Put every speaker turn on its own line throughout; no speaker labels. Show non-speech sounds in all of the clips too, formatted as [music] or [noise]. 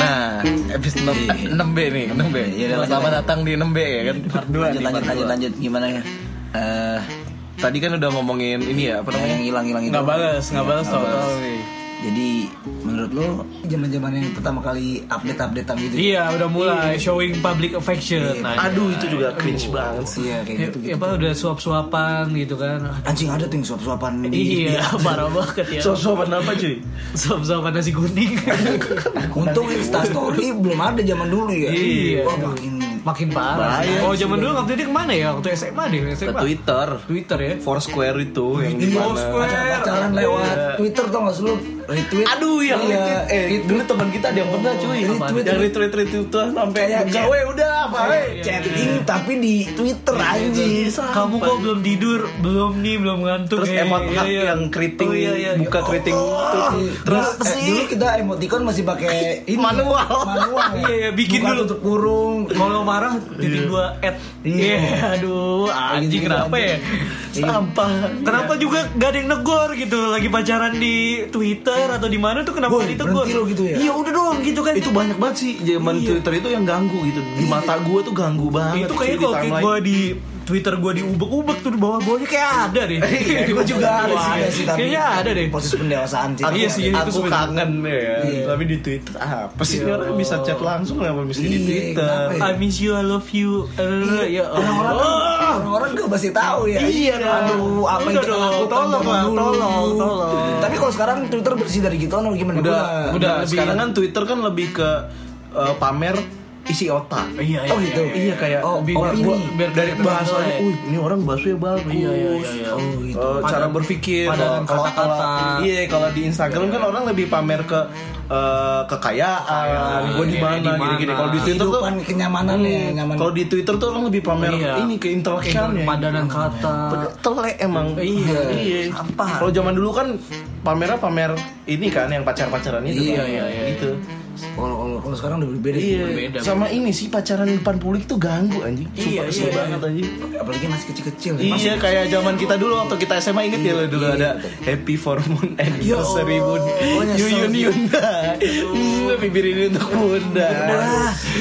Nah, eh, iya.
Selamat datang di 6B ya kan. Part dua
lanjut
nih,
lanjut
part
lanjut
dua.
lanjut gimana ya Eh,
Tadi kan udah ngomongin ini ya, apa
Eh,
namanya?
yang hilang hilang itu
Nggak balas, nggak balas tau tau nih.
jadi menurut lo
zaman zaman yang pertama kali update updatean gitu
Iya, udah mulai showing public affection. Nah,
Aduh itu juga cringe banget sih.
iya kayak
ya,
gitu
ya, apa udah suap-suapan gitu kan.
anjing ada tuh yang suap suapan
Iya, parah banget ya.
Sosokan apa cuy?
Suap-suapan nasi
[laughs]
kuning.
untung instastory belum ada zaman dulu ya
Iya.
wah makin
Makin parah. sih. Oh, zaman dulu waktu itu kemana ya? Waktu SMA deh,
Ke
SMA.
Twitter.
Twitter ya.
Foursquare itu yang di
Iya,
mana?
pacaran lewat Twitter tau gak sih lu retweet
Aduh yang
Iya,
retweet. Eh
retweet.
dulu teman kita ada yang pernah cuy.
Retweet.
Yang retweet retweet tuh sampai
Kayak
gawe udah apa? eh, Iya,
chatting tapi di Twitter anjing
Anjir, sampai.
Kamu kok belum tidur? Belum nih, belum ngantuk.
Terus
eh.
emot
Iya,
hak
iya.
yang keriting
Oh, iya, iya.
buka keriting tuh.
Terus
Terus
eh, dulu kita emoticon masih pakai ini,
Manual.
Manual.
Iya, iya,
Buka
bikin dulu.
tutup kurung.
Kalau marah titik dua at. Iya, aduh, anjing kenapa ya?
sampah.
Kenapa juga gak ada yang negor gitu lagi pacaran di Twitter atau di mana tuh kenapa
Boy,
gak ditegor?
berhenti lo gitu ya?
Iya udah dong gitu kan.
Itu banyak banget sih zaman
Iya.
Twitter itu yang ganggu gitu. Di mata gua tuh ganggu banget.
itu kayaknya
cuy, di
kalau kayak
timeline.
gue di Twitter gue diubek-ubek tuh di bawah-bawahnya kayak ada deh.
Iya, gua juga ada
Wah,
sih,
Ada sih tapi
Kayaknya ada deh.
Proses pendewasaan sih.
Aku- Iya sih, itu
aku
sebenarnya.
kangen ya.
Iya.
Tapi di Twitter apa sih ini orang bisa chat langsung kenapa mesti di
Iya,
Twitter?
kenapa
I miss you, I love you. Eh, ya
Orang-orang kan-
Allah.
orang-orang gak pasti tahu ya.
Iya,
aduh, apa yang
Udah
kita
dong,
lakukan
tolong
zaman
lah,
dulu.
tolong, tolong.
Tapi kalau sekarang Twitter bersih dari gitu, gituan atau gimana?
Udah,
Gua-
udah.
lebih-
Sekarang kan Twitter kan lebih ke eh, pamer isi otak.
Iya, iya.
Oh gitu.
Iya kayak
Oh,
lebih-
opini.
gua-
Biar
dari
kelihatan
bahasanya,
nilai.
uh ini orang bahasanya bagus.
Iya, iya, iya, iya.
Oh, gitu. Eh, cara
Padangan-
berpikir. eh,
padangan
Kalau- kalau-
kata-kata.
Iya kalau di Instagram kan orang lebih pamer ke eh, kekayaan, gue di
ini
mana,
di
gini-gini.
mana.
Kalau di Twitter tuh
Kehidupan kenyamanannya, ya,
Hmm.
nyaman.
Kalau di Twitter tuh orang lebih pamer
Iya.
ini ke intelektualnya.
Padanan kata.
Telek emang.
Iya,
Sampah. Kalau zaman dulu kan pamernya pamer ini kan yang pacar-pacaran itu
Iya,
kan.
iya, iya.
Gitu.
Kalau kalau kalau sekarang udah berbeda. sih.
Iya.
Berbeda,
Sama ini sih pacaran di depan publik tuh ganggu anjing. Sumpah
Iya,
kesel
iya.
banget anjing.
Apalagi masih kecil-kecil. ya.
Iya kayak zaman kita dulu waktu kita SMA inget ya lo dulu
Iya,
ada Happy Four Moon Anniversary Moon
Oh, nyesel
Yuyun
sih.
Yunda Hmm, Bibir ini untuk bunda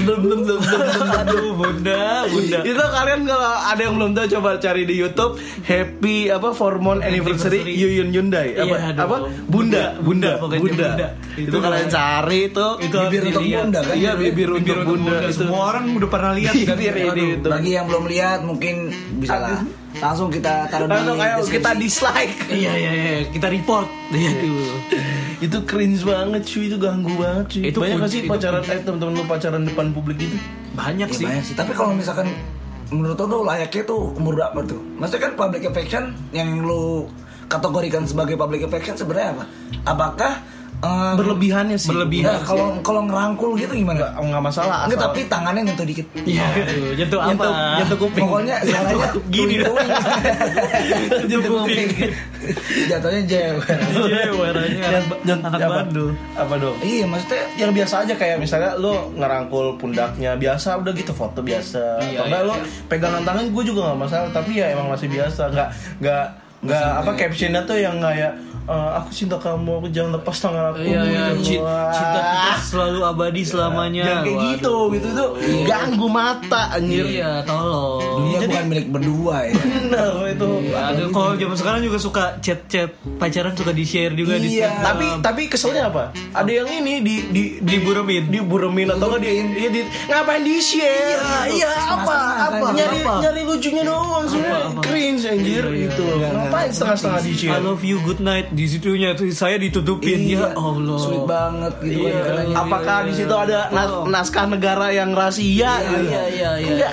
Belum belum belum belum
Aduh, bunda, bunda.
Itu kalian kalau ada yang belum tahu coba cari di YouTube Happy apa Formon Anniversary
Anniversary.
Yuyun Yundai apa
Iya, aduh.
apa Bunda Bunda
Bunda,
Bunda,
pokoknya Bunda.
Itu,
Itu
kalian
kalian-
cari itu
Itu
Bibir
harus
untuk
dilihat.
bunda kan?
Iya bibir, untuk Bunda, itu
Semua orang udah pernah lihat kan?
Bibir ini
Aduh.
itu
Bagi yang belum lihat mungkin bisa lah. Langsung kita taruh di
Langsung ayo
deskripsi.
Nah, kita
[laughs]
dislike
Iya iya iya kita report. Iya.
itu cringe banget cuy itu ganggu banget cuy
Itu
banyak gak
kunci-
sih
itu
pacaran
kunci.
eh, teman-teman lu pacaran depan publik gitu
Iya, Banyak
Ya,
sih.
banyak sih. Tapi kalau misalkan menurut lo tuh layaknya tuh umur berapa tuh? Maksudnya kan public affection yang lu kategorikan sebagai public affection sebenarnya apa? Apakah em,
berlebihannya sih
Berlebihan.
Nah, kalau kalau ngerangkul gitu
nggak
gimana?
nggak masalah asal
Enggak, tapi tangannya nyentuh dikit.
Iya. aduh, Nyentuh apa?
nyentuh nyentuh kuping
Pokoknya caranya
Gini dah.
[laughs] nyentuh kuping
Jatuhnya jewer.
Iya, warnanya
Nyent- nyent-
anak
apa?
bandel.
apa dong
Iya, maksudnya
yang biasa aja kayak misalnya lo ngerangkul pundaknya biasa udah gitu foto biasa atau
Iya,
enggak
iya,
lo
iya.
pegangan tangan gue juga nggak masalah tapi ya emang masih biasa nggak nggak nggak apa captionnya tuh yang kayak "Eh, aku cinta kamu aku jangan lepas tangan aku Gitu.
Iya iya.
Wah.
Ci- Cinta kita selalu abadi selamanya.
Jangan kayak
Waduh.
gitu gitu tuh ganggu mata anjir
Iya tolong.
dunia
Jadi-
bukan milik berdua ya.
bener itu
Ada kalau zaman sekarang juga suka chat-chat pacaran suka di-share juga di
Iya.
Instagram.
tapi tapi keselnya apa ada yang ini di di di
Diburemin.
diburemin atau nggak di, di, di- ngapain di share iya, apa apa nyari
Apa?
nyari lucunya doang sebenarnya cringe anjir gitu ngapain setengah setengah di
I
share
love you, good night. Di situnya tuh saya ditutupin ya Allah.
Sweet Iya, banget gitu
Iya.
kan katanya.
apakah di situ ada na- naskah negara yang rahasia gitu?
Iya iya iya.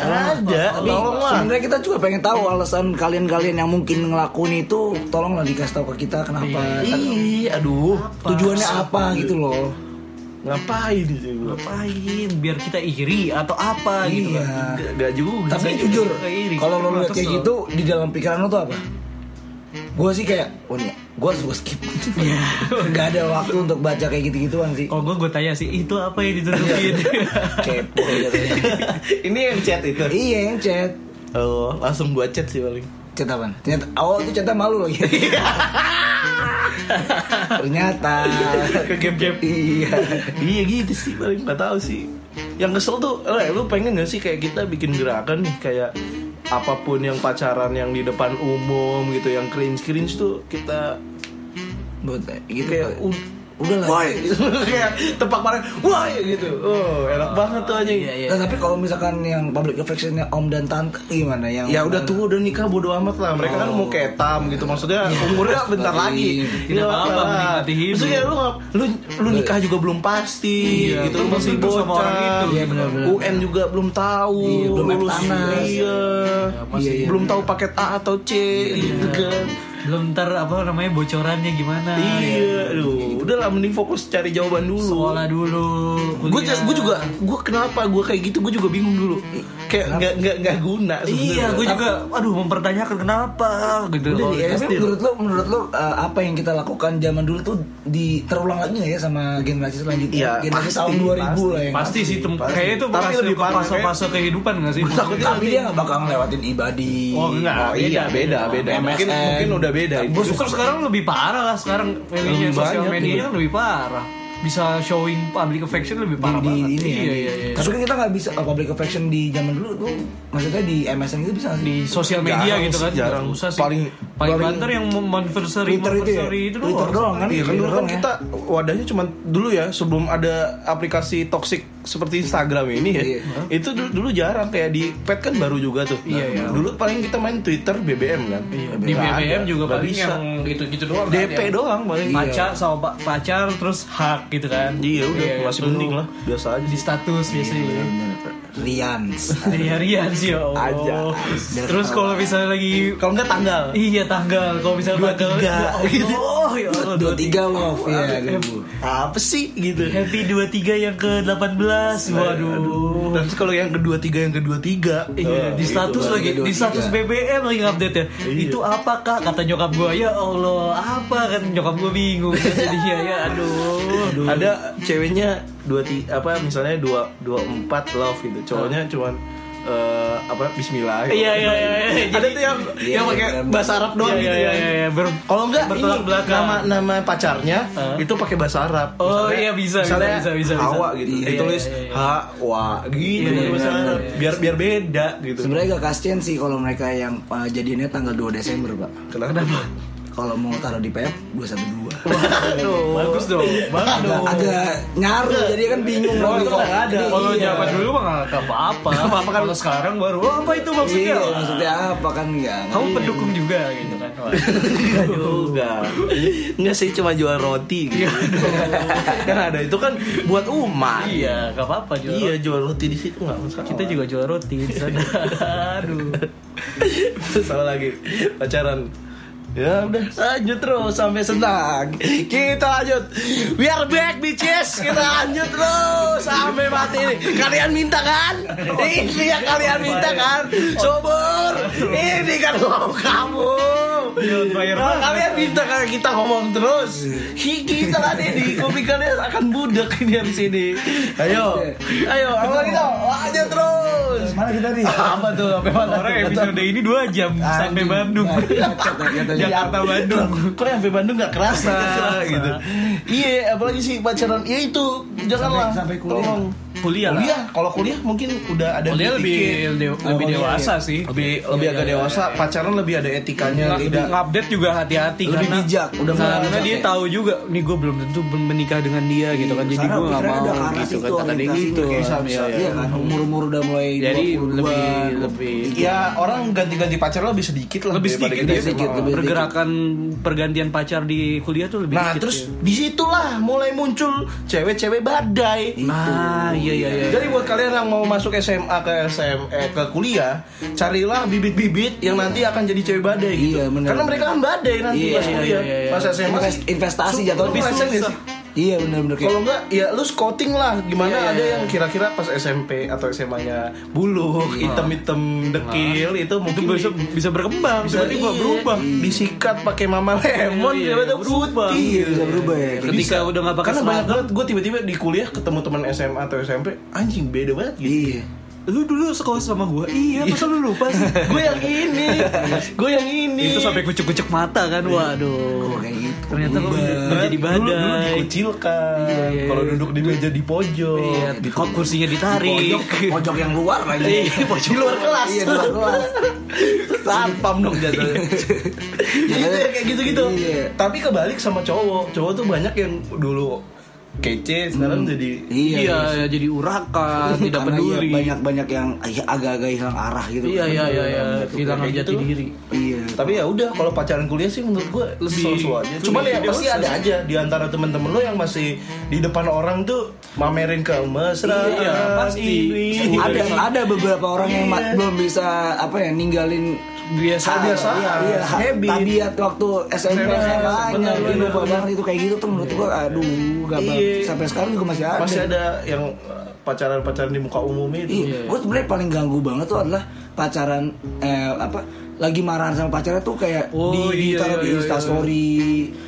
nggak ada
Tapi
tolonglah
sebenarnya kita juga pengen tahu alasan kalian-kalian yang mungkin ngelakuin itu tolonglah dikasih tahu ke kita kenapa
ih aduh
tujuannya apa gitu loh.
ngapain sih gua?
ngapain biar kita iri atau apa gitu kan
Iya.
Nggak- nggak juga
Tapi
sih.
jujur,
suka iri.
kalau lo
Cuma
lihat kayak
kesel.
gitu di dalam pikiran lo tuh apa? Gue sih kayak, oh nih, gue harus gue skip.
Iya.
[laughs] Gak ada waktu untuk baca kayak gitu-gituan sih.
kalau gue gue tanya sih itu apa yang
Iya,
ditutupin [laughs]
Kepo [laughs] jatuhnya.
[laughs] ini yang chat itu
Iya yang chat.
oh langsung gua chat sih paling
Chat apaan? Ternyata, oh itu chatnya malu
[laughs]
lagi. Ternyata.
ke gap gap
Iya.
iya gitu sih paling nggak tahu sih yang kesel tuh eh, lu pengen gak sih kayak kita bikin gerakan nih kayak apapun yang pacaran yang di depan umum gitu yang cringe cringe tuh kita
buat gitu
kayak u-
udah lah
wah gitu. [laughs] kayak tepak marah wah gitu oh enak banget tuh anjing
Iya,
Nah, tapi kalau misalkan yang public affectionnya om dan tante gimana yang
ya udah tuh udah nikah bodo amat lah mereka
Oh.
kan mau ketam gitu maksudnya umurnya bentar lagi
Iya,
Iya,
Tidak apa-apa, menikmati hidup.
maksudnya lu ngap- lu lu nikah juga belum pasti
Iya,
gitu
belum
lu masih
tentu
bocah
sama orang itu.
Iya, benar-benar. UN juga belum tahu
belum
lulus
FTANAS.
iya,
masih-
Iya, belum tahu paket A atau C
Iya,
gitu kan
belum ntar apa namanya bocorannya gimana
iya aduh udah lah mending fokus cari jawaban dulu
sekolah dulu
gue
kuliah.
gue juga gue kenapa gue kayak gitu gue juga bingung dulu kayak nggak nggak nggak guna
iya gue juga aduh mempertanyakan kenapa gitu
Udah di SD loh.
Tapi ya, menurut lo, menurut lo eh, apa yang kita lakukan zaman dulu tuh di terulang lagi nggak ya sama generasi
Iya,
selanjutnya? generasi
pasti,
tahun 2000 lah yang
pasti sih tem-
pasti.
kayaknya itu
Tapi
masuk
lebih
ke
parah,
fase-fase kehidupan gak sih
takutnya
Tapi dia nggak bakal ngelewatin ibadi.
Oh, enggak.
Oh, iya beda beda. Mungkin mungkin udah beda.
Gue suka sekarang lebih parah lah sekarang media
Lebih
sosial
banyak, iya.
media kan lebih parah. Bisa showing public affection lebih parah
di
banget.
ini
iya,
ya,
iya, iya.
Tapi kan kita nggak bisa eh, public affection di zaman dulu tuh, maksudnya di MSN itu gitu bisa nggak sih?
Di sosial media
Jarang
gitu
sih,
kan.
jarang.
Susah sih.
Paling-
paling
paling-
banter yang monversary
Twitter itu ya?
itu
Twitter doang kan?
Iya kan dulu kan
Dorong ya.
kita wadahnya cuma dulu ya sebelum ada aplikasi toxic seperti Instagram ini ya.
Iya.
Itu dulu, dulu jarang kayak di pet kan baru juga tuh.
Iya, iya.
Dulu paling kita main Twitter BBM kan.
Di
Nggak
BBM
ada,
juga
nggak
paling
bisa.
yang gitu-gitu doang. kan,
DP
yang
doang paling.
Pacar sama pa- pacar terus hak gitu kan.
Iya udah masih
itu
mending lah biasa aja.
Di status biasanya. gitu kan.
Rians.
Hari-harian sih ya Allah.
Aja.
Terus kalau misalnya lagi
Kalau nggak tanggal.
Iya tanggal kalau
Dua,
misalnya tanggal
tiga,
gitu. Oh ya Allah
Dua tiga love ya. aduh.
Apa sih gitu.
Happy 23 yang ke 18 Waduh
Terus kalau yang kedua tiga yang kedua tiga.
Iya, di
gitu.
status lagi, di status BBM lagi update ya. Itu apa kak? Kata nyokap gua ya Allah apa kan nyokap gua bingung. Jadi ya, ya aduh.
ada ceweknya dua ti- apa misalnya dua dua empat love gitu cowoknya cuman eh, apa Bismillah gitu.
Ah. Iya iya iya. iya.
ada tuh yang yang pakai bahasa Arab
Iya
doang
iya
gitu
iya.
ya
iya. Ber-
kalau enggak
bertolak
ini
belakang.
nama nama pacarnya
Hah?
itu pakai bahasa Arab
Oh, iya, bisa, bisa,
misalnya
bisa, bisa, bisa.
Hawa gitu
Iya,
ditulis
iya, iya.
ha wa gitu
Iya, iya,
pakai bahasa
iya,
Arab
iya.
biar biar beda gitu
Sebenarnya gak kasihan sih kalau mereka yang uh, jadinya tanggal 2 Desember, Pak.
kenapa
Kalau mau taruh di PF 212.
bagus dong. Bagus
Agak,
dong.
agak
Iya.
nyaru jadi kan bingung
Oh, itu
kok.
nggak ada.
Kalau
Iya.
zaman dulu mah nggak apa-apa. apa-apa kan. Kalau sekarang baru "Oh, apa itu maksudnya?
Iya, maksudnya apa kan enggak?
Kamu pendukung juga gitu kan. Wah.
Enggak juga Enggak sih cuma jual roti
Iya.
gitu. Kan ada itu kan buat umat
Iya, nggak apa-apa jual.
Iya jual roti di situ nggak masalah.
Kita juga jual roti di [laughs] sana. Aduh.
[laughs] salah lagi pacaran. Ya udah lanjut terus sampai senang. Kita lanjut. We are back bitches. Kita lanjut terus sampai mati ini. Kalian minta kan? Ini yang kalian minta kan? Sobor. Ini kan ngomong kamu.
Iya,
Nah, kalian minta kan kita ngomong terus. Hi, Kita kan ini kuping kalian akan budak ini habis ini. Ayo. Ayo, apa kita? Lanjut terus.
Mana kita nih?
Apa tuh? Sampai mana?
Orang episode ini 2 jam sampai Bandung. Jakarta Bandung.
Iya. [laughs] Kok yang sampai Bandung gak kerasa gitu. Iya, apalagi sih pacaran. Ya itu, janganlah.
sampai kuliah.
Tolong.
Kuliah lah.
Kuliah, kalau kuliah mungkin udah ada
Kuliah lebih
dikit. Oh, iya.
de- lebih dewasa sih. Iya,
lebih lebih agak dewasa, pacaran lebih ada etikanya,
Lebih
tidak
update juga hati-hati
Lebih
karena
bijak, udah mulai
karena
bijak
dia
ya.
tahu juga nih gue belum tentu menikah dengan dia gitu kan jadi
Karena
gue nggak
pikirannya
mau
udah ke arah
gitu kan
situ,
kata dia
orientasinya
gitu
kayak
Bisa, bisa,
Iya kan, umur-umur udah mulai
jadi
22,
lebih lebih
Ya orang ganti-ganti pacar lebih sedikit lah
lebih
daripada
sedikit iya,
kita
dia
SMA.
sedikit, lebih sedikit.
pergerakan pergantian pacar di kuliah tuh lebih
Nah
dikit
terus
ya.
disitulah mulai muncul cewek-cewek badai.
ah iya iya iya
Jadi buat kalian yang mau masuk SMA ke SM eh, ke kuliah, carilah bibit-bibit yang nanti akan jadi cewek badai gitu.
Iya, bener.
Karena mereka kan badai nanti
Iya,
pas
iya,
kuliah,
iya, iya.
pas SMA
Invest- investasi jatuh
lebih susah.
Iya benar-benar kayak
Kalau enggak ya lu scouting lah gimana ada yang kira-kira pas SMP atau SMA-nya buluk, hitam-hitam dekil Iya. Nah. itu
itu
mungkin
bisa
di-
bisa berkembang tiba-tiba
iya,
berubah
disikat pakai mama lemon
Iya,
tiba-tiba
berubah.
putih.
Iya, bisa berubah ya.
Bisa.
ketika udah nggak pakai
Karena banyak
seragam
banget gue tiba-tiba di kuliah ketemu teman SMA atau SMP, anjing beda banget gitu.
Iya.
lu dulu sekolah sama gua iya masa lu
[laughs]
lupa sih
gue yang ini gue yang ini
itu sampai kucuk-kucuk mata kan waduh
Kok kayak gitu?
ternyata kok menjadi
Dulu-
badai
dulu dikucilkan
iya,
kalau
iya.
duduk di meja di pojok
Iya, di kok kursinya ditarik.
Pojok, Iya, pojok yang luar lagi.
Iya, pojok luar kelas.
Iya, di luar kelas.
Satpam dong jatuhnya Gitu ya, kayak gitu-gitu
Iya.
Tapi kebalik sama cowok Cowok tuh banyak yang dulu kece Sekarang jadi
Iya,
Iya.
jadi urakan,
[laughs]
tidak
Karena iya,
peduli.
banyak-banyak yang iya, agak-agak hilang arah gitu.
Iya, iya, iya, iya, kehilangan
Kayak
jati
gitu.
diri.
Iya.
Tapi ya udah kalau pacaran kuliah sih menurut gue
Lebih-
lebih slow aja. Cuman ya
lebih
pasti
dewasa
ada aja di antara temen-temen lo yang masih di depan orang tuh mamerin ke mesra.
Iya, pasti.
Ini,
ada ada beberapa orang yang ma- belum bisa apa ya ninggalin
Biasa
Biasa.
iya, iya, ha-
habit.
tabiat waktu SMP
Benar,
SMA nya
benar,
gitu
benar.
banget itu kayak gitu tuh menurut gua aduh gak
Iya.
banget sampai sekarang juga masih ada
Masih ada yang uh, pacaran-pacaran di muka umum itu.
Iya, gue sebenarnya paling ganggu banget tuh adalah pacaran eh, apa lagi marahan sama pacarnya tuh kayak
Oh,
di
iya,
ditaruh di
iya, iya.
instastory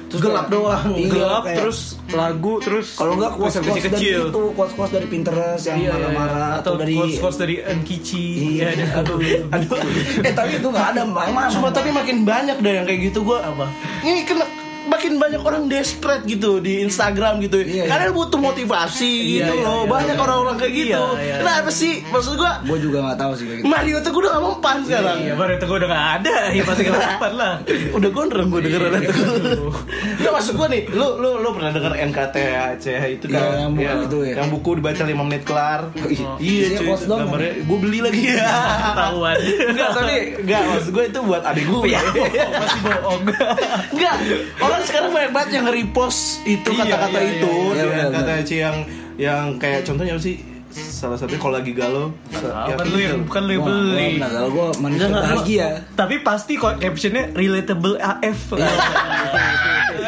terus
Gelap
kayak-
doang.
iya,
gelap
kayak-
terus lagu terus
kalau enggak kuas kuas dari
kecil-kecil.
itu kuas kuas dari Pinterest yang
Iya, iya,
marah-marah
atau
atau dari
quotes-quotes dari Enkici.
Iya. [laughs]
aduh. aduh.
eh tapi itu nggak ada mana
Cuma tapi makin banyak dah yang kayak gitu gue apa? Ini kena makin banyak orang desperate gitu di Instagram gitu.
Iya, iya.
Karena butuh motivasi gitu
Iya, iya,
loh.
iya,
banyak
iya.
orang-orang kayak gitu.
Iya, iya, iya.
Kenapa sih? Maksud gue
gue juga nggak tahu sih kayak gitu
Mario tuh gue udah gak mempan sekarang.
Iya, baru itu gue udah gak ada, ya pasti gak dapat
[laughs]
lah.
udah gondrong gue denger itu [laughs] nggak maksud gue nih lu lu lu pernah denger NKTH itu kan
Iya, yang buku
Iya.
itu ya.
yang buku dibaca 5 menit kelar iya
Isinya
cuy
quotes doang,
gambarnya gue beli lagi [laughs] ya
Ketahuan.
Enggak, tapi enggak maksud gue itu buat adik gue.
Ya,
[laughs]
masih bohong. [laughs]
Enggak, orang sekarang banyak banget yang nge-repost itu
Iya,
kata-kata
iya,
itu,
iya, iya,
yang
benar,
kata Eci yang yang kayak contohnya apa sih? Salah satunya kalau lagi galau, sa-
Bukan lu yang bukan lu yang beli.
Nah, kalau gue manusia bahagia
Tapi pasti kok captionnya relatable AF.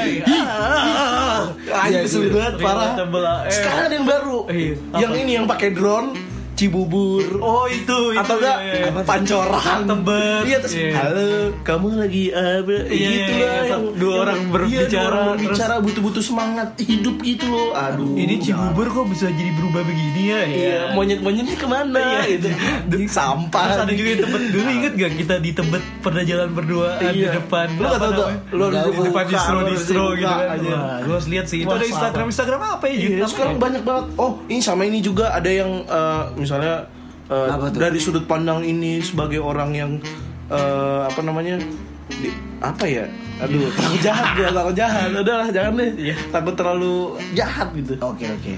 Iya. Anjir
Iya,
seru
iya.
Ah, banget parah.
Relatable AF.
Sekarang ada yang baru.
Iya.
Yang ini yang pakai drone Cibubur.
Oh itu, itu
atau enggak
iya, iya.
pancoran
Tebet.
Iya terus
Iya.
halo kamu lagi apa
Iya,
gitu
iya,
lah
iya.
yang
Dua
yang-
orang
iya,
berbicara,
dua orang
terus-
berbicara butuh-butuh semangat hidup gitu loh. Aduh.
Ini Cibubur kok bisa jadi berubah begini ya?
Iya, monyet-monyetnya kemana gitu. Sampah.
Terus ada juga yang tebet dulu inget gak kita di tebet pernah jalan berdua di depan
Iya. Lu nggak
apa
tahu tuh.
namanya?
Lu harus
di depan
buka,
distro
lu harus
distro
buka
gitu kan.
aja.
Wah, gua harus lihat sih. Itu
Wah,
ada
sabar.
Instagram Instagram apa ya?
Iya,
Apa
sekarang
ya?
banyak banget. Oh, ini sama ini juga ada yang eh, misalnya eh,
Apa tuh?
dari sudut pandang ini sebagai orang yang eh, apa namanya? di- apa ya? Aduh, takut jahat gua, takut jahat. Udahlah, jangan deh. Takut terlalu jahat gitu.
oke oke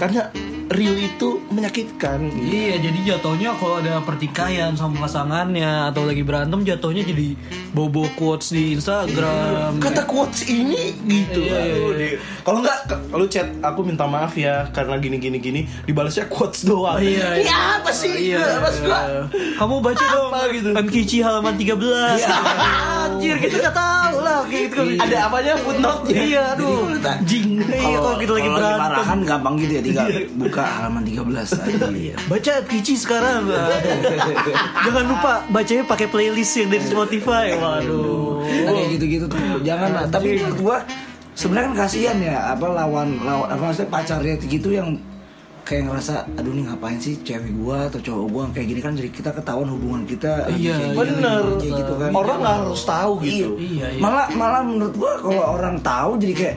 Karena real itu menyakitkan.
Iya, jadi jatuhnya kalau ada pertikaian sama pasangannya atau lagi berantem jatuhnya jadi bobo quotes di Instagram.
Kata quotes ini gitu.
Iya, iya,
Aduh,
iya.
di- Kalau enggak ke- lu chat aku minta maaf ya karena gini gini gini dibalasnya quotes doang. Ini
Iya, iya.
apa sih?
Iya,
Maksud gua,
kamu baca dong
Apa gitu?
Enkici halaman 13. Anjir, kita nggak tahu lah kayak gitu.
ada apanya footnote-nya?
Iya, aduh. Jing. Iya, kalau kita lagi berantem.
marahan gampang gitu ya
[laughs]
tinggal buka halaman 13 aja iya.
Baca Kici [laughs] sekarang. Jangan lupa bacanya pakai playlist yang dari Spotify. Waduh.
Nah, kayak gitu-gitu tuh jangan lah tapi menurut gua sebenarnya kan kasihan ya apa lawan lawan apa maksudnya pacarnya gitu yang kayak ngerasa aduh nih ngapain sih cewek gua atau cowok gua kayak gini kan jadi kita ketahuan hubungan kita lagi
Iya,
kayak gini,
Bener.
kayak gitu kan
Orang nggak harus tahu gitu.
Iya, iya.
malah malah menurut gua kalau orang tahu jadi kayak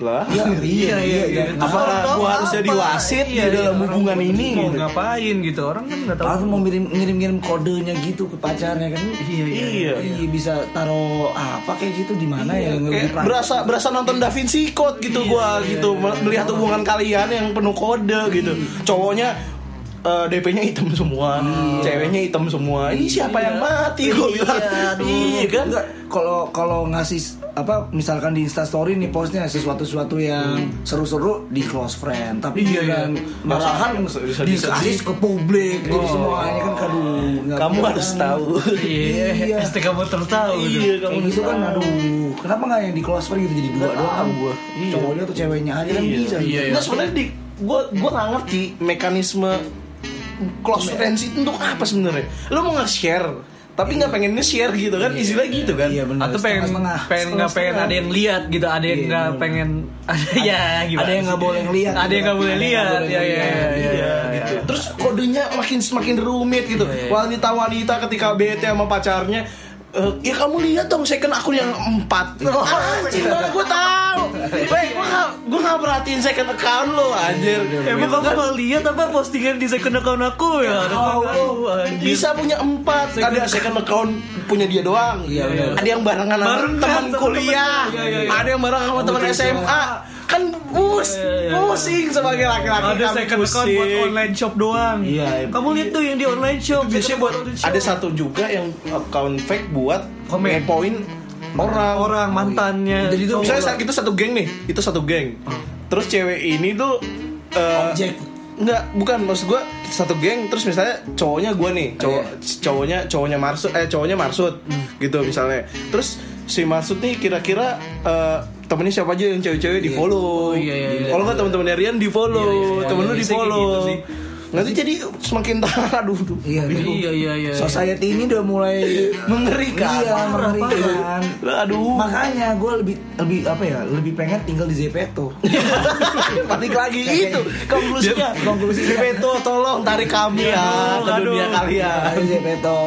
Lah.
ya iya iya, iya,
Apa
Orang tahu
gua harus
apa?
jadi wasit
Iya,
di dalam
iya,
hubungan
orang
ini?
Mau
gitu?
ngapain gitu? Orang kan nggak tahu.
Langsung mau ngirim ngirim ngirim kodenya gitu ke pacarnya kan
Iya, iya.
Iya.
Iya, bisa taruh apa kayak gitu di mana
Iya,
ya yang
Kayak
lebih praktis.
berasa berasa nonton Da Vinci Code gitu gua gitu
iya,
melihat hubungan kalian yang penuh kode gitu. Cowoknya eh, DP-nya hitam semua,
Iya.
ceweknya hitam semua. Ini siapa yang mati gua bilang. Iya kan?
Enggak, kalau kalau ngasih apa misalkan di instastory nih postnya sesuatu sesuatu yang seru-seru di close friend tapi
Hmm. Iya, iya.
yang malahan
Bisa- bisa
dikasih ke publik gitu semuanya kan aduh nggak
Kamu
bisa.
harus tahu.
Iya, pasti kamu tertahu.
Iya,
kayak
kamu
gitu kan aduh kenapa nggak yang di close friend gitu jadi dua
Nggak
doang
tahu gua. Iya.
cowoknya atau ceweknya aja kan bisa
Iya,
gitu.
Nah, sebenarnya di gua gua nggak ngerti Iya. mekanisme close friends itu untuk apa sebenarnya. Lo mau nge-share tapi nggak pengen nge-share gitu kan istilah gitu kan
Iya, bener.
atau pengen
Setengah-setengah.
pengen nggak pengen
Setengah-setengah.
ada yang lihat gitu ada yang
Iya,
nggak
bener.
pengen [laughs] ada ya gimana
ada yang nggak
sih?
boleh ngeliat
ada
gitu
yang nggak
kan.
boleh
Ada yang nggak
lihat
boleh ngeliat.
ya ya ya, ya
Iya,
ya.
gitu. Terus kodenya makin semakin rumit gitu. Wanita-wanita ketika bete sama pacarnya eh, ya kamu lihat dong second akun yang empat Anjir mana gue tahu Weh gue gak, gue gak perhatiin second account lo anjir
Emang kamu nggak lihat apa postingan di second account aku ya?
Oh, oh, kan-
anjir.
bisa punya empat ada second account punya dia doang
bener.
ada yang barengan sama
Iya, Barengan
teman
sama
kuliah
temen. Iya, iya, iya.
ada yang bareng sama teman SMA kan bus
iya.
pusing sebagai laki-laki
Ada
kan
second account buat
pusing.
online shop doang.
Iya, iya.
Kamu lihat tuh yang di online shop.
biasanya
second
buat
account online shop.
ada satu juga yang account fake buat
Komen.
ngepoin orang
orang mantannya.
jadi itu misalnya saat itu satu geng nih itu satu geng terus cewek ini tuh eh,
Objek.
Enggak, bukan maksud gua satu geng terus misalnya cowoknya gua nih,
Oh,
cowok
iya.
cowoknya cowoknya Marsud eh cowoknya Marsud
Hmm.
gitu misalnya. Terus si Marsud nih kira-kira eh, temennya siapa aja yang cewek-cewek di follow.
Oh, iya, iya, iya.
Kalau nggak teman-teman Rian di follow, temen lu di
Biasanya kayak
follow.
gitu sih.
Nanti jadi semakin [laughs] tahan aduh. aduh.
iya bingung.
Iya iya iya.
society ini udah mulai
[laughs] Mengerikan.
iya mengerikan
[laughs] Aduh.
makanya gue lebih lebih apa ya lebih pengen tinggal di Zepeto
Balik lagi itu konklusinya.
konklusinya.
Beto tolong tarik
Iya,
kami ya ke dunia kalian.
Ayo Zepeto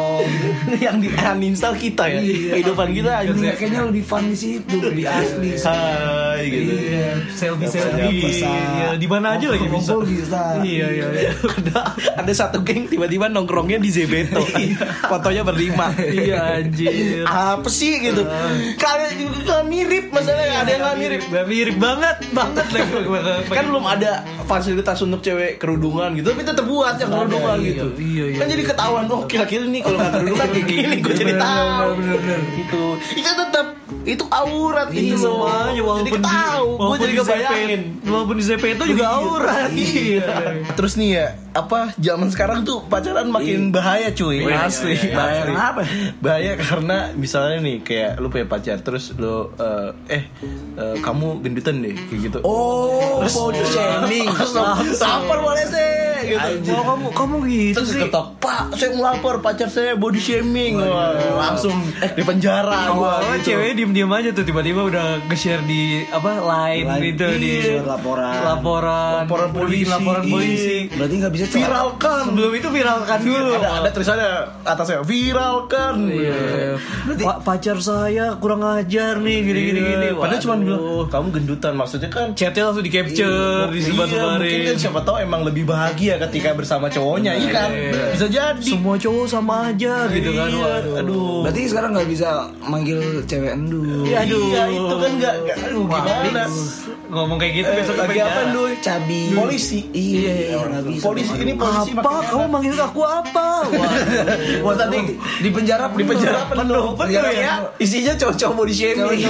yang di uninstall kita ya
Iya.
kehidupan kita
Ini
anjing.
kayaknya lebih fun di situ lebih asli
Hai gitu
Iya, selfie
Dapat,
selfie.
dapat,
Iya, di mana aja lagi bisa.
Kumpul bisa.
Iya iya iya.
ada ada satu geng tiba-tiba nongkrongnya di
[laughs]
Zebeto fotonya berlima
Iya anjir. Iya.
apa sih gitu kalian juga nggak mirip masalahnya ada yang nggak mirip
Gak mirip banget banget lagi
kan belum ada fasilitas untuk cewek kerudungan gitu tapi tetap buat yang kerudungan
iya,
gitu
iya, iya,
kan jadi ketahuan oh kira-kira nih kalau nggak kerudungan kayak gini gue jadi tahu gitu itu tetap itu aurat itu
Iya semuanya walaupun
jadi tahu gue jadi kebayangin
Zepeto- Walaupun di ZP itu
Iya.
juga aurat Iya
Terus nih ya, apa zaman sekarang tuh pacaran makin bahaya cuy. Asli, bahaya. Kenapa? Bahaya karena misalnya nih kayak lu punya pacar terus lu eh, eh eh, kamu gendutan deh kayak gitu.
oh body shaming
[laughs] Sampar boleh sih gitu.
Wah, kamu kamu gitu
Terus
sih
ketok, Pak, saya melapor pacar saya body shaming. Wah, langsung di penjara gua.
Awalnya
gitu.
ceweknya diem-diem aja tuh tiba-tiba udah nge-share di apa line,
Line,
gitu di
share laporan.
laporan
Laporan polisi.
laporan polisi.
Iya.
Iya. Kan.
berarti nggak bisa celaka.
Viralkan.
Sebelum itu viralkan dulu.
Ada ada tulisannya atasnya viralkan.
Iya. Pak pacar saya kurang ajar nih gini-gini gini.
Padahal cuma
Iya. Waduh.
bilang kamu gendutan maksudnya kan
chatnya langsung di
Iya,
capture,
mungkin
disebar-sebarin.
kan siapa tahu emang lebih bahagia ketika bersama cowoknya, iya kan? Bisa jadi.
Semua cowok sama aja gitu kan.
Iya,
Waduh.
aduh.
berarti sekarang nggak bisa manggil cewek endu
Iya, itu kan nggak, nggak- aduh gimana?
Ngomong kayak gitu besok
Lagi
kepenjara.
apa Dul?
cabi
Polisi.
iya nggak bisa
Polisi ini polisi
Apa?
makin-
Kamu manggil aku apa? Wah.
Wah tadi di penjara
di penjara penuh.
Penjara
Penuh ya. Isinya cowok-cowok body shaming.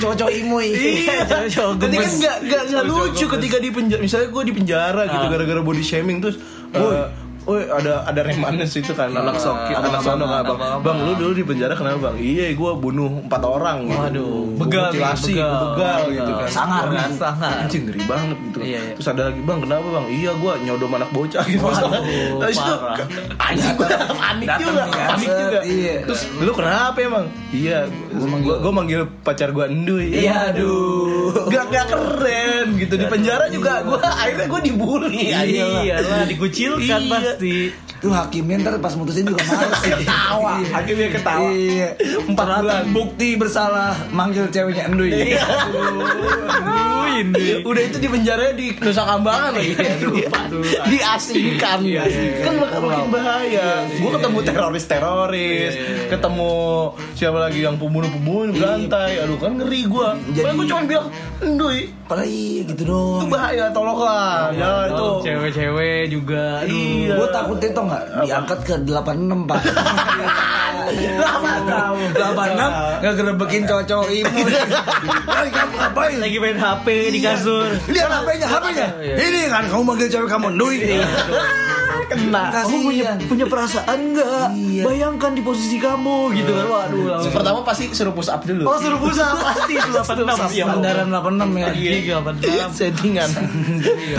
cowok imui
[laughs] Iya, cowok
Tapi kan
gemes.
nggak nggak nggak lucu ketika di penjara. Misalnya gue di penjara gitu gara-gara body shaming terus. Woi, Woi ada ada remanes itu kan anak soki anak sono nggak bang bang lu dulu di penjara kenapa bang iya gue bunuh empat orang waduh
Begal,
mutilasi begal,
begal.
begal gitu kan
sangar kan
sangar.
anjing ngeri banget gitu
Iya, iya.
terus ada lagi bang kenapa bang iya gue nyodom anak bocah gitu masalah [laughs] terus itu
parah.
anjing gua panik juga
nih,
panik
set,
juga
iya.
terus lu kenapa emang iya gue gue manggil pacar gue enduy
iya aduh
gak, gak keren gitu di penjara juga gue akhirnya gue dibully
Iya lah, dikucilkan
Iya.
pasti.
tuh hakimnya ntar pas mutusin juga males ketawa
akhirnya ketawa
iya
empat bulan
bukti bersalah manggil ceweknya ya. enduy
Aduin deh.
udah itu di penjara di Nusa Kambangan
Iya,
lagi diasingkan kan makin, makin
Iya,
bahaya gue ketemu teroris teroris ketemu siapa lagi yang pembunuh
Iya,
pembunuh berantai aduh kan ngeri gue
Jadi-
gue cuma bilang enduy
apalagi gitu
itu
dong
bahaya tolonglah ya itu
Oh, cewek-cewek juga. Aduh.
Iya.
Gue takutnya tau gak diangkat ke 86 pak
Iya.
86 Gak gerebekin cowok-cowok ibu Hei kamu ngapain
Lagi main HP di kasur. Iya.
[laughs]
Lihat HP-nya, HP-nya Ini kan kamu manggil cewek kamu Nui
kena.
Kamu punya,
Kasihan.
punya perasaan nggak?
Iya.
Bayangkan di posisi kamu gitu kan. Waduh. langsung.
Pertama pasti suruh push up dulu.
Oh suruh busa [laughs] pasti itu 86 ya.
Sandaran 86 ya.
Iya 86.
Settingan.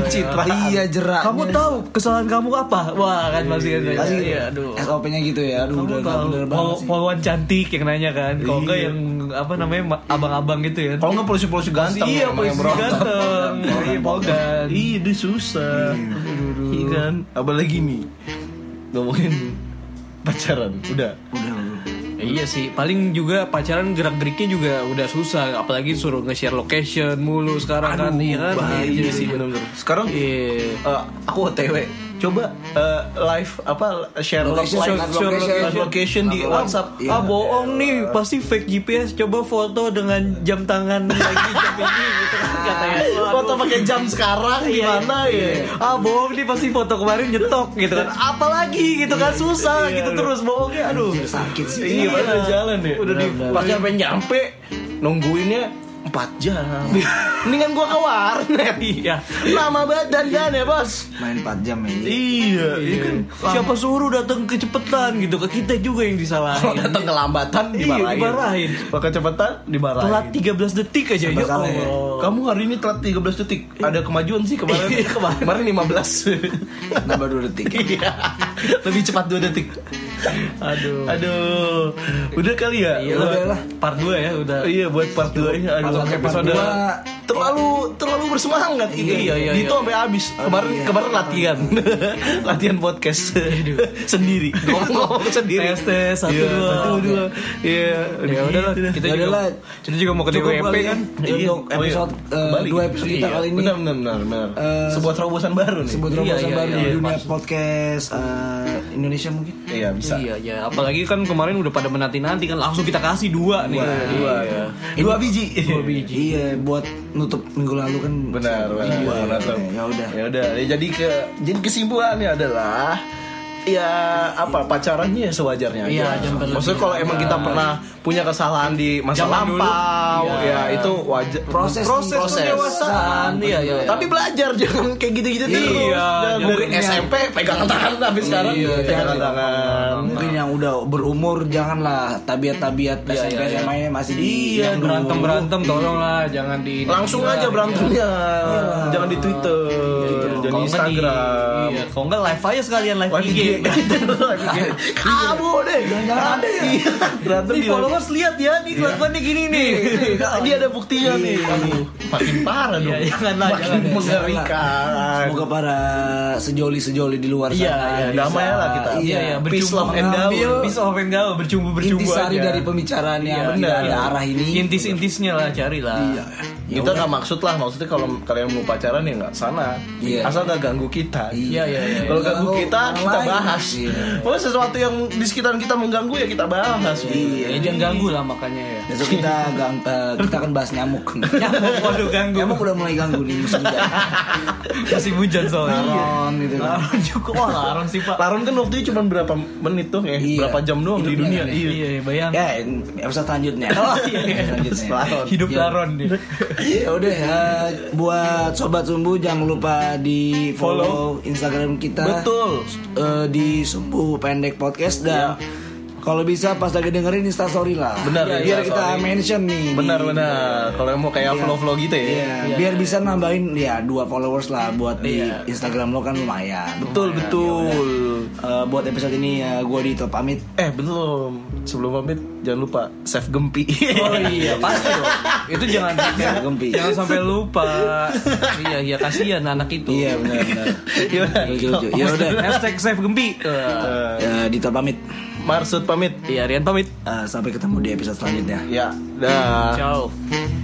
Citra iya jerak.
Kamu tahu kesalahan kamu apa? Wah kan pasti kan.
Pasti
Iya, aduh.
SOP-nya gitu ya. Aduh udah
Kamu Oh,
nggak
tahu
bener banget
pol-
sih.
polwan cantik yang nanya kan. Kalau enggak yang apa namanya ma- abang-abang gitu
Iya.
ya.
Kalau nggak polisi-polisi ganteng.
Iya,
emang yang
polisi
berontak.
ganteng. Iya, polgan.
Iya, dia susah. Iya kan? Apalagi nih ngomongin pacaran. Udah.
Ya, Iya sih, paling juga pacaran gerak-geriknya juga udah susah, apalagi suruh nge-share location mulu sekarang kan, iya kan?
Bahaya
Iya,
sih
iya.
benar-benar. Sekarang
Iya.
eh, aku OTW. Coba eh, live apa share live
Location, share
share
location.
location, location di
Live
WhatsApp.
Iya.
Ah bohong nih, pasti fake GPS. Coba foto dengan jam
[laughs]
tangan lagi jam ini gitu kan
eh,
katanya.
Foto pakai jam sekarang
Iya,
gimana ya?
Ah bohong nih pasti foto kemarin nyetok gitu kan. Apalagi gitu kan susah gitu terus bohongnya. Aduh.
Sakit sih.
Iya, padahal jalan ya.
Udah di
Pas nyampe nyampe nungguinnya 4 jam. [laughs] Mendingan gua ke warnet.
Iya.
Lama badan kan ya, Bos?
Main 4 jam ya.
Iya, iya kan.
Siapa suruh datang kecepatan gitu ke kita juga yang
Kalau
disalahin.
datang kelambatan Iya, dimarahin.
dimarahin.
Pakai cepetan dimarahin. Iya,
Telat 13 detik aja ya
salah ya.
Allah.
Kamu hari ini telat 13 detik. Ada kemajuan sih kemarin. Iya. kemarin 15.
Nambah 2 detik.
[laughs] Iya. Lebih cepat 2 detik.
Aduh.
Aduh. Udah kali ya?
Iya udah lah.
Part 2 ya udah.
Iya buat part 2 ini aduh
Part
episode
dua.
terlalu terlalu bersemangat gitu.
Iya, iya,
Itu
iya.
sampai habis. Kemarin kemarin latihan.
Iya,
[laughs] latihan podcast [laughs] sendiri. Ngomong sendiri.
Tes, tes, satu,
Iya,
dua.
Satu dua. Iya.
Ya udahlah,
gitu dah.
kita
Ya
juga
udahlah.
kita juga mau ke
Cukup
DWP
kali ya.
kan.
Iya,
Iya.
Untuk
Oh, iya.
episode eh,
Kembali.
dua episode kita
Iya,
kali ini.
Benar benar benar. benar.
Eh,
Sebuah terobosan baru nih.
Sebuah
Iya,
terobosan
iya,
baru
iya,
di dunia
pas.
podcast eh, Indonesia mungkin.
Iya bisa.
Iya, iya. Apalagi kan kemarin udah pada menanti-nanti kan langsung kita kasih dua nih. Iya,
Dua ya. Dua biji. Dua biji.
Iya, buat nutup minggu lalu kan.
benar benar
Iya,
benar, Tom.
Ya udah.
ya udah Ya, jadi ke jadi kesimpulannya adalah ya apa pacarannya ya sewajarnya aja
Iya, jangan berlebih.
maksudnya kalau emang kita pernah punya kesalahan di masa
Jangan dulu.
lampau
Iya.
ya itu wajar
Proses-
proses,
proses.
pendewasaan.
Iya, iya, iya.
tapi belajar [laughs] jangan kayak gitu-gitu terus
Iya,
Dan
jangan
dari
kayak-
SMP pegangan tangan tapi sekarang
Iya,
pegangan
iya.
tangan
Mungkin yang udah berumur janganlah tabiat-tabiat SMP
iya, iya.
SMA -nya masih di
Iya,
yang
berantem
dulu.
berantem tolonglah jangan di
langsung aja
iya.
berantemnya jangan di Twitter jangan di
Kalau nggak
Instagram iya.
Iya, kalau enggak live aja sekalian live,
Live
IG.
IG. [laughs] Kamu deh.
Jangan-jangan
Ada ya. Berantem
Nih
di
followers lihat ya, nih kelakuannya gini nih.
Dia ada buktinya nih. Aduh, Iya. makin parah dong.
Iya, janganlah,
makin
jangan.
mengerikan.
Semoga para sejoli-sejoli di luar
Iya,
sana
iya,
bisa-
damai lah kita.
Iya,
Iya, iya,
Peace, love, and
mengambil
daun.
Bisa open gaul, bercumbu-bercumbu
intisari
aja.
dari pembicaraan yang
Iya,
tidak
benar.
ada arah ini.
Intis-intisnya lah carilah.
Iya.
kita nggak maksud lah maksudnya kalau kalian mau pacaran ya nggak sana
Iya.
asal nggak ganggu kita
Iya, iya, iya.
kalau ganggu
Kalau
kita
Oh, orang
kita
lain.
bahas
Iya.
Pokoknya sesuatu yang di sekitar kita mengganggu ya kita bahas
Ya, jangan ganggu lah makanya
[laughs]
ya.
Besok kita gang, eh, kita akan bahas
[laughs]
nyamuk.
Nyamuk, waduh ganggu.
nyamuk udah mulai ganggu nih musim
Iya.
hujan.
Masih hujan soalnya.
Laron gitu kan.
Laron juga, wah laron sih pak.
Laron kan waktu itu cuma berapa menit tuh ya,
Iya.
berapa jam doang di
Hidupnya
dunia.
kan,
Iya.
Iya, bayang.
Ya, episode selanjutnya.
Oh, iya, iya.
Selanjutnya.
Laron. Iya,
Hidup
Iya.
laron dia.
Ya udah eh, buat sobat sumbu jangan lupa di follow, Instagram kita.
Iya, Betul.
Eh, di sumbu pendek podcast dan kalau bisa pas lagi dengerin instastory lah.
Iya. Benar,
Biar
iya,
kita
sorry.
mention nih. di-
Benar benar. Kalau yang mau kayak
Iya.
vlog vlog gitu ya.
Iya, biar bisa nambahin ya dua followers lah buat di Instagram lo kan lumayan.
Betul betul.
Eh, buat episode ini ya gue Dito pamit.
Eh belum. Sebelum pamit jangan lupa save gempi.
Oh iya
[laughs]
pasti dong. Itu jangan
Jangan gempi.
jangan sampai lupa. Iya iya kasihan anak itu.
Iya benar benar.
Iya.
Lucu, lucu. Ya udah.
Hashtag save gempi. Eh,
Eh, Dito pamit.
Marsud pamit.
Iya Rian pamit.
Eh, sampai ketemu di episode selanjutnya.
Ya. Dah.
Ciao.
Ciao.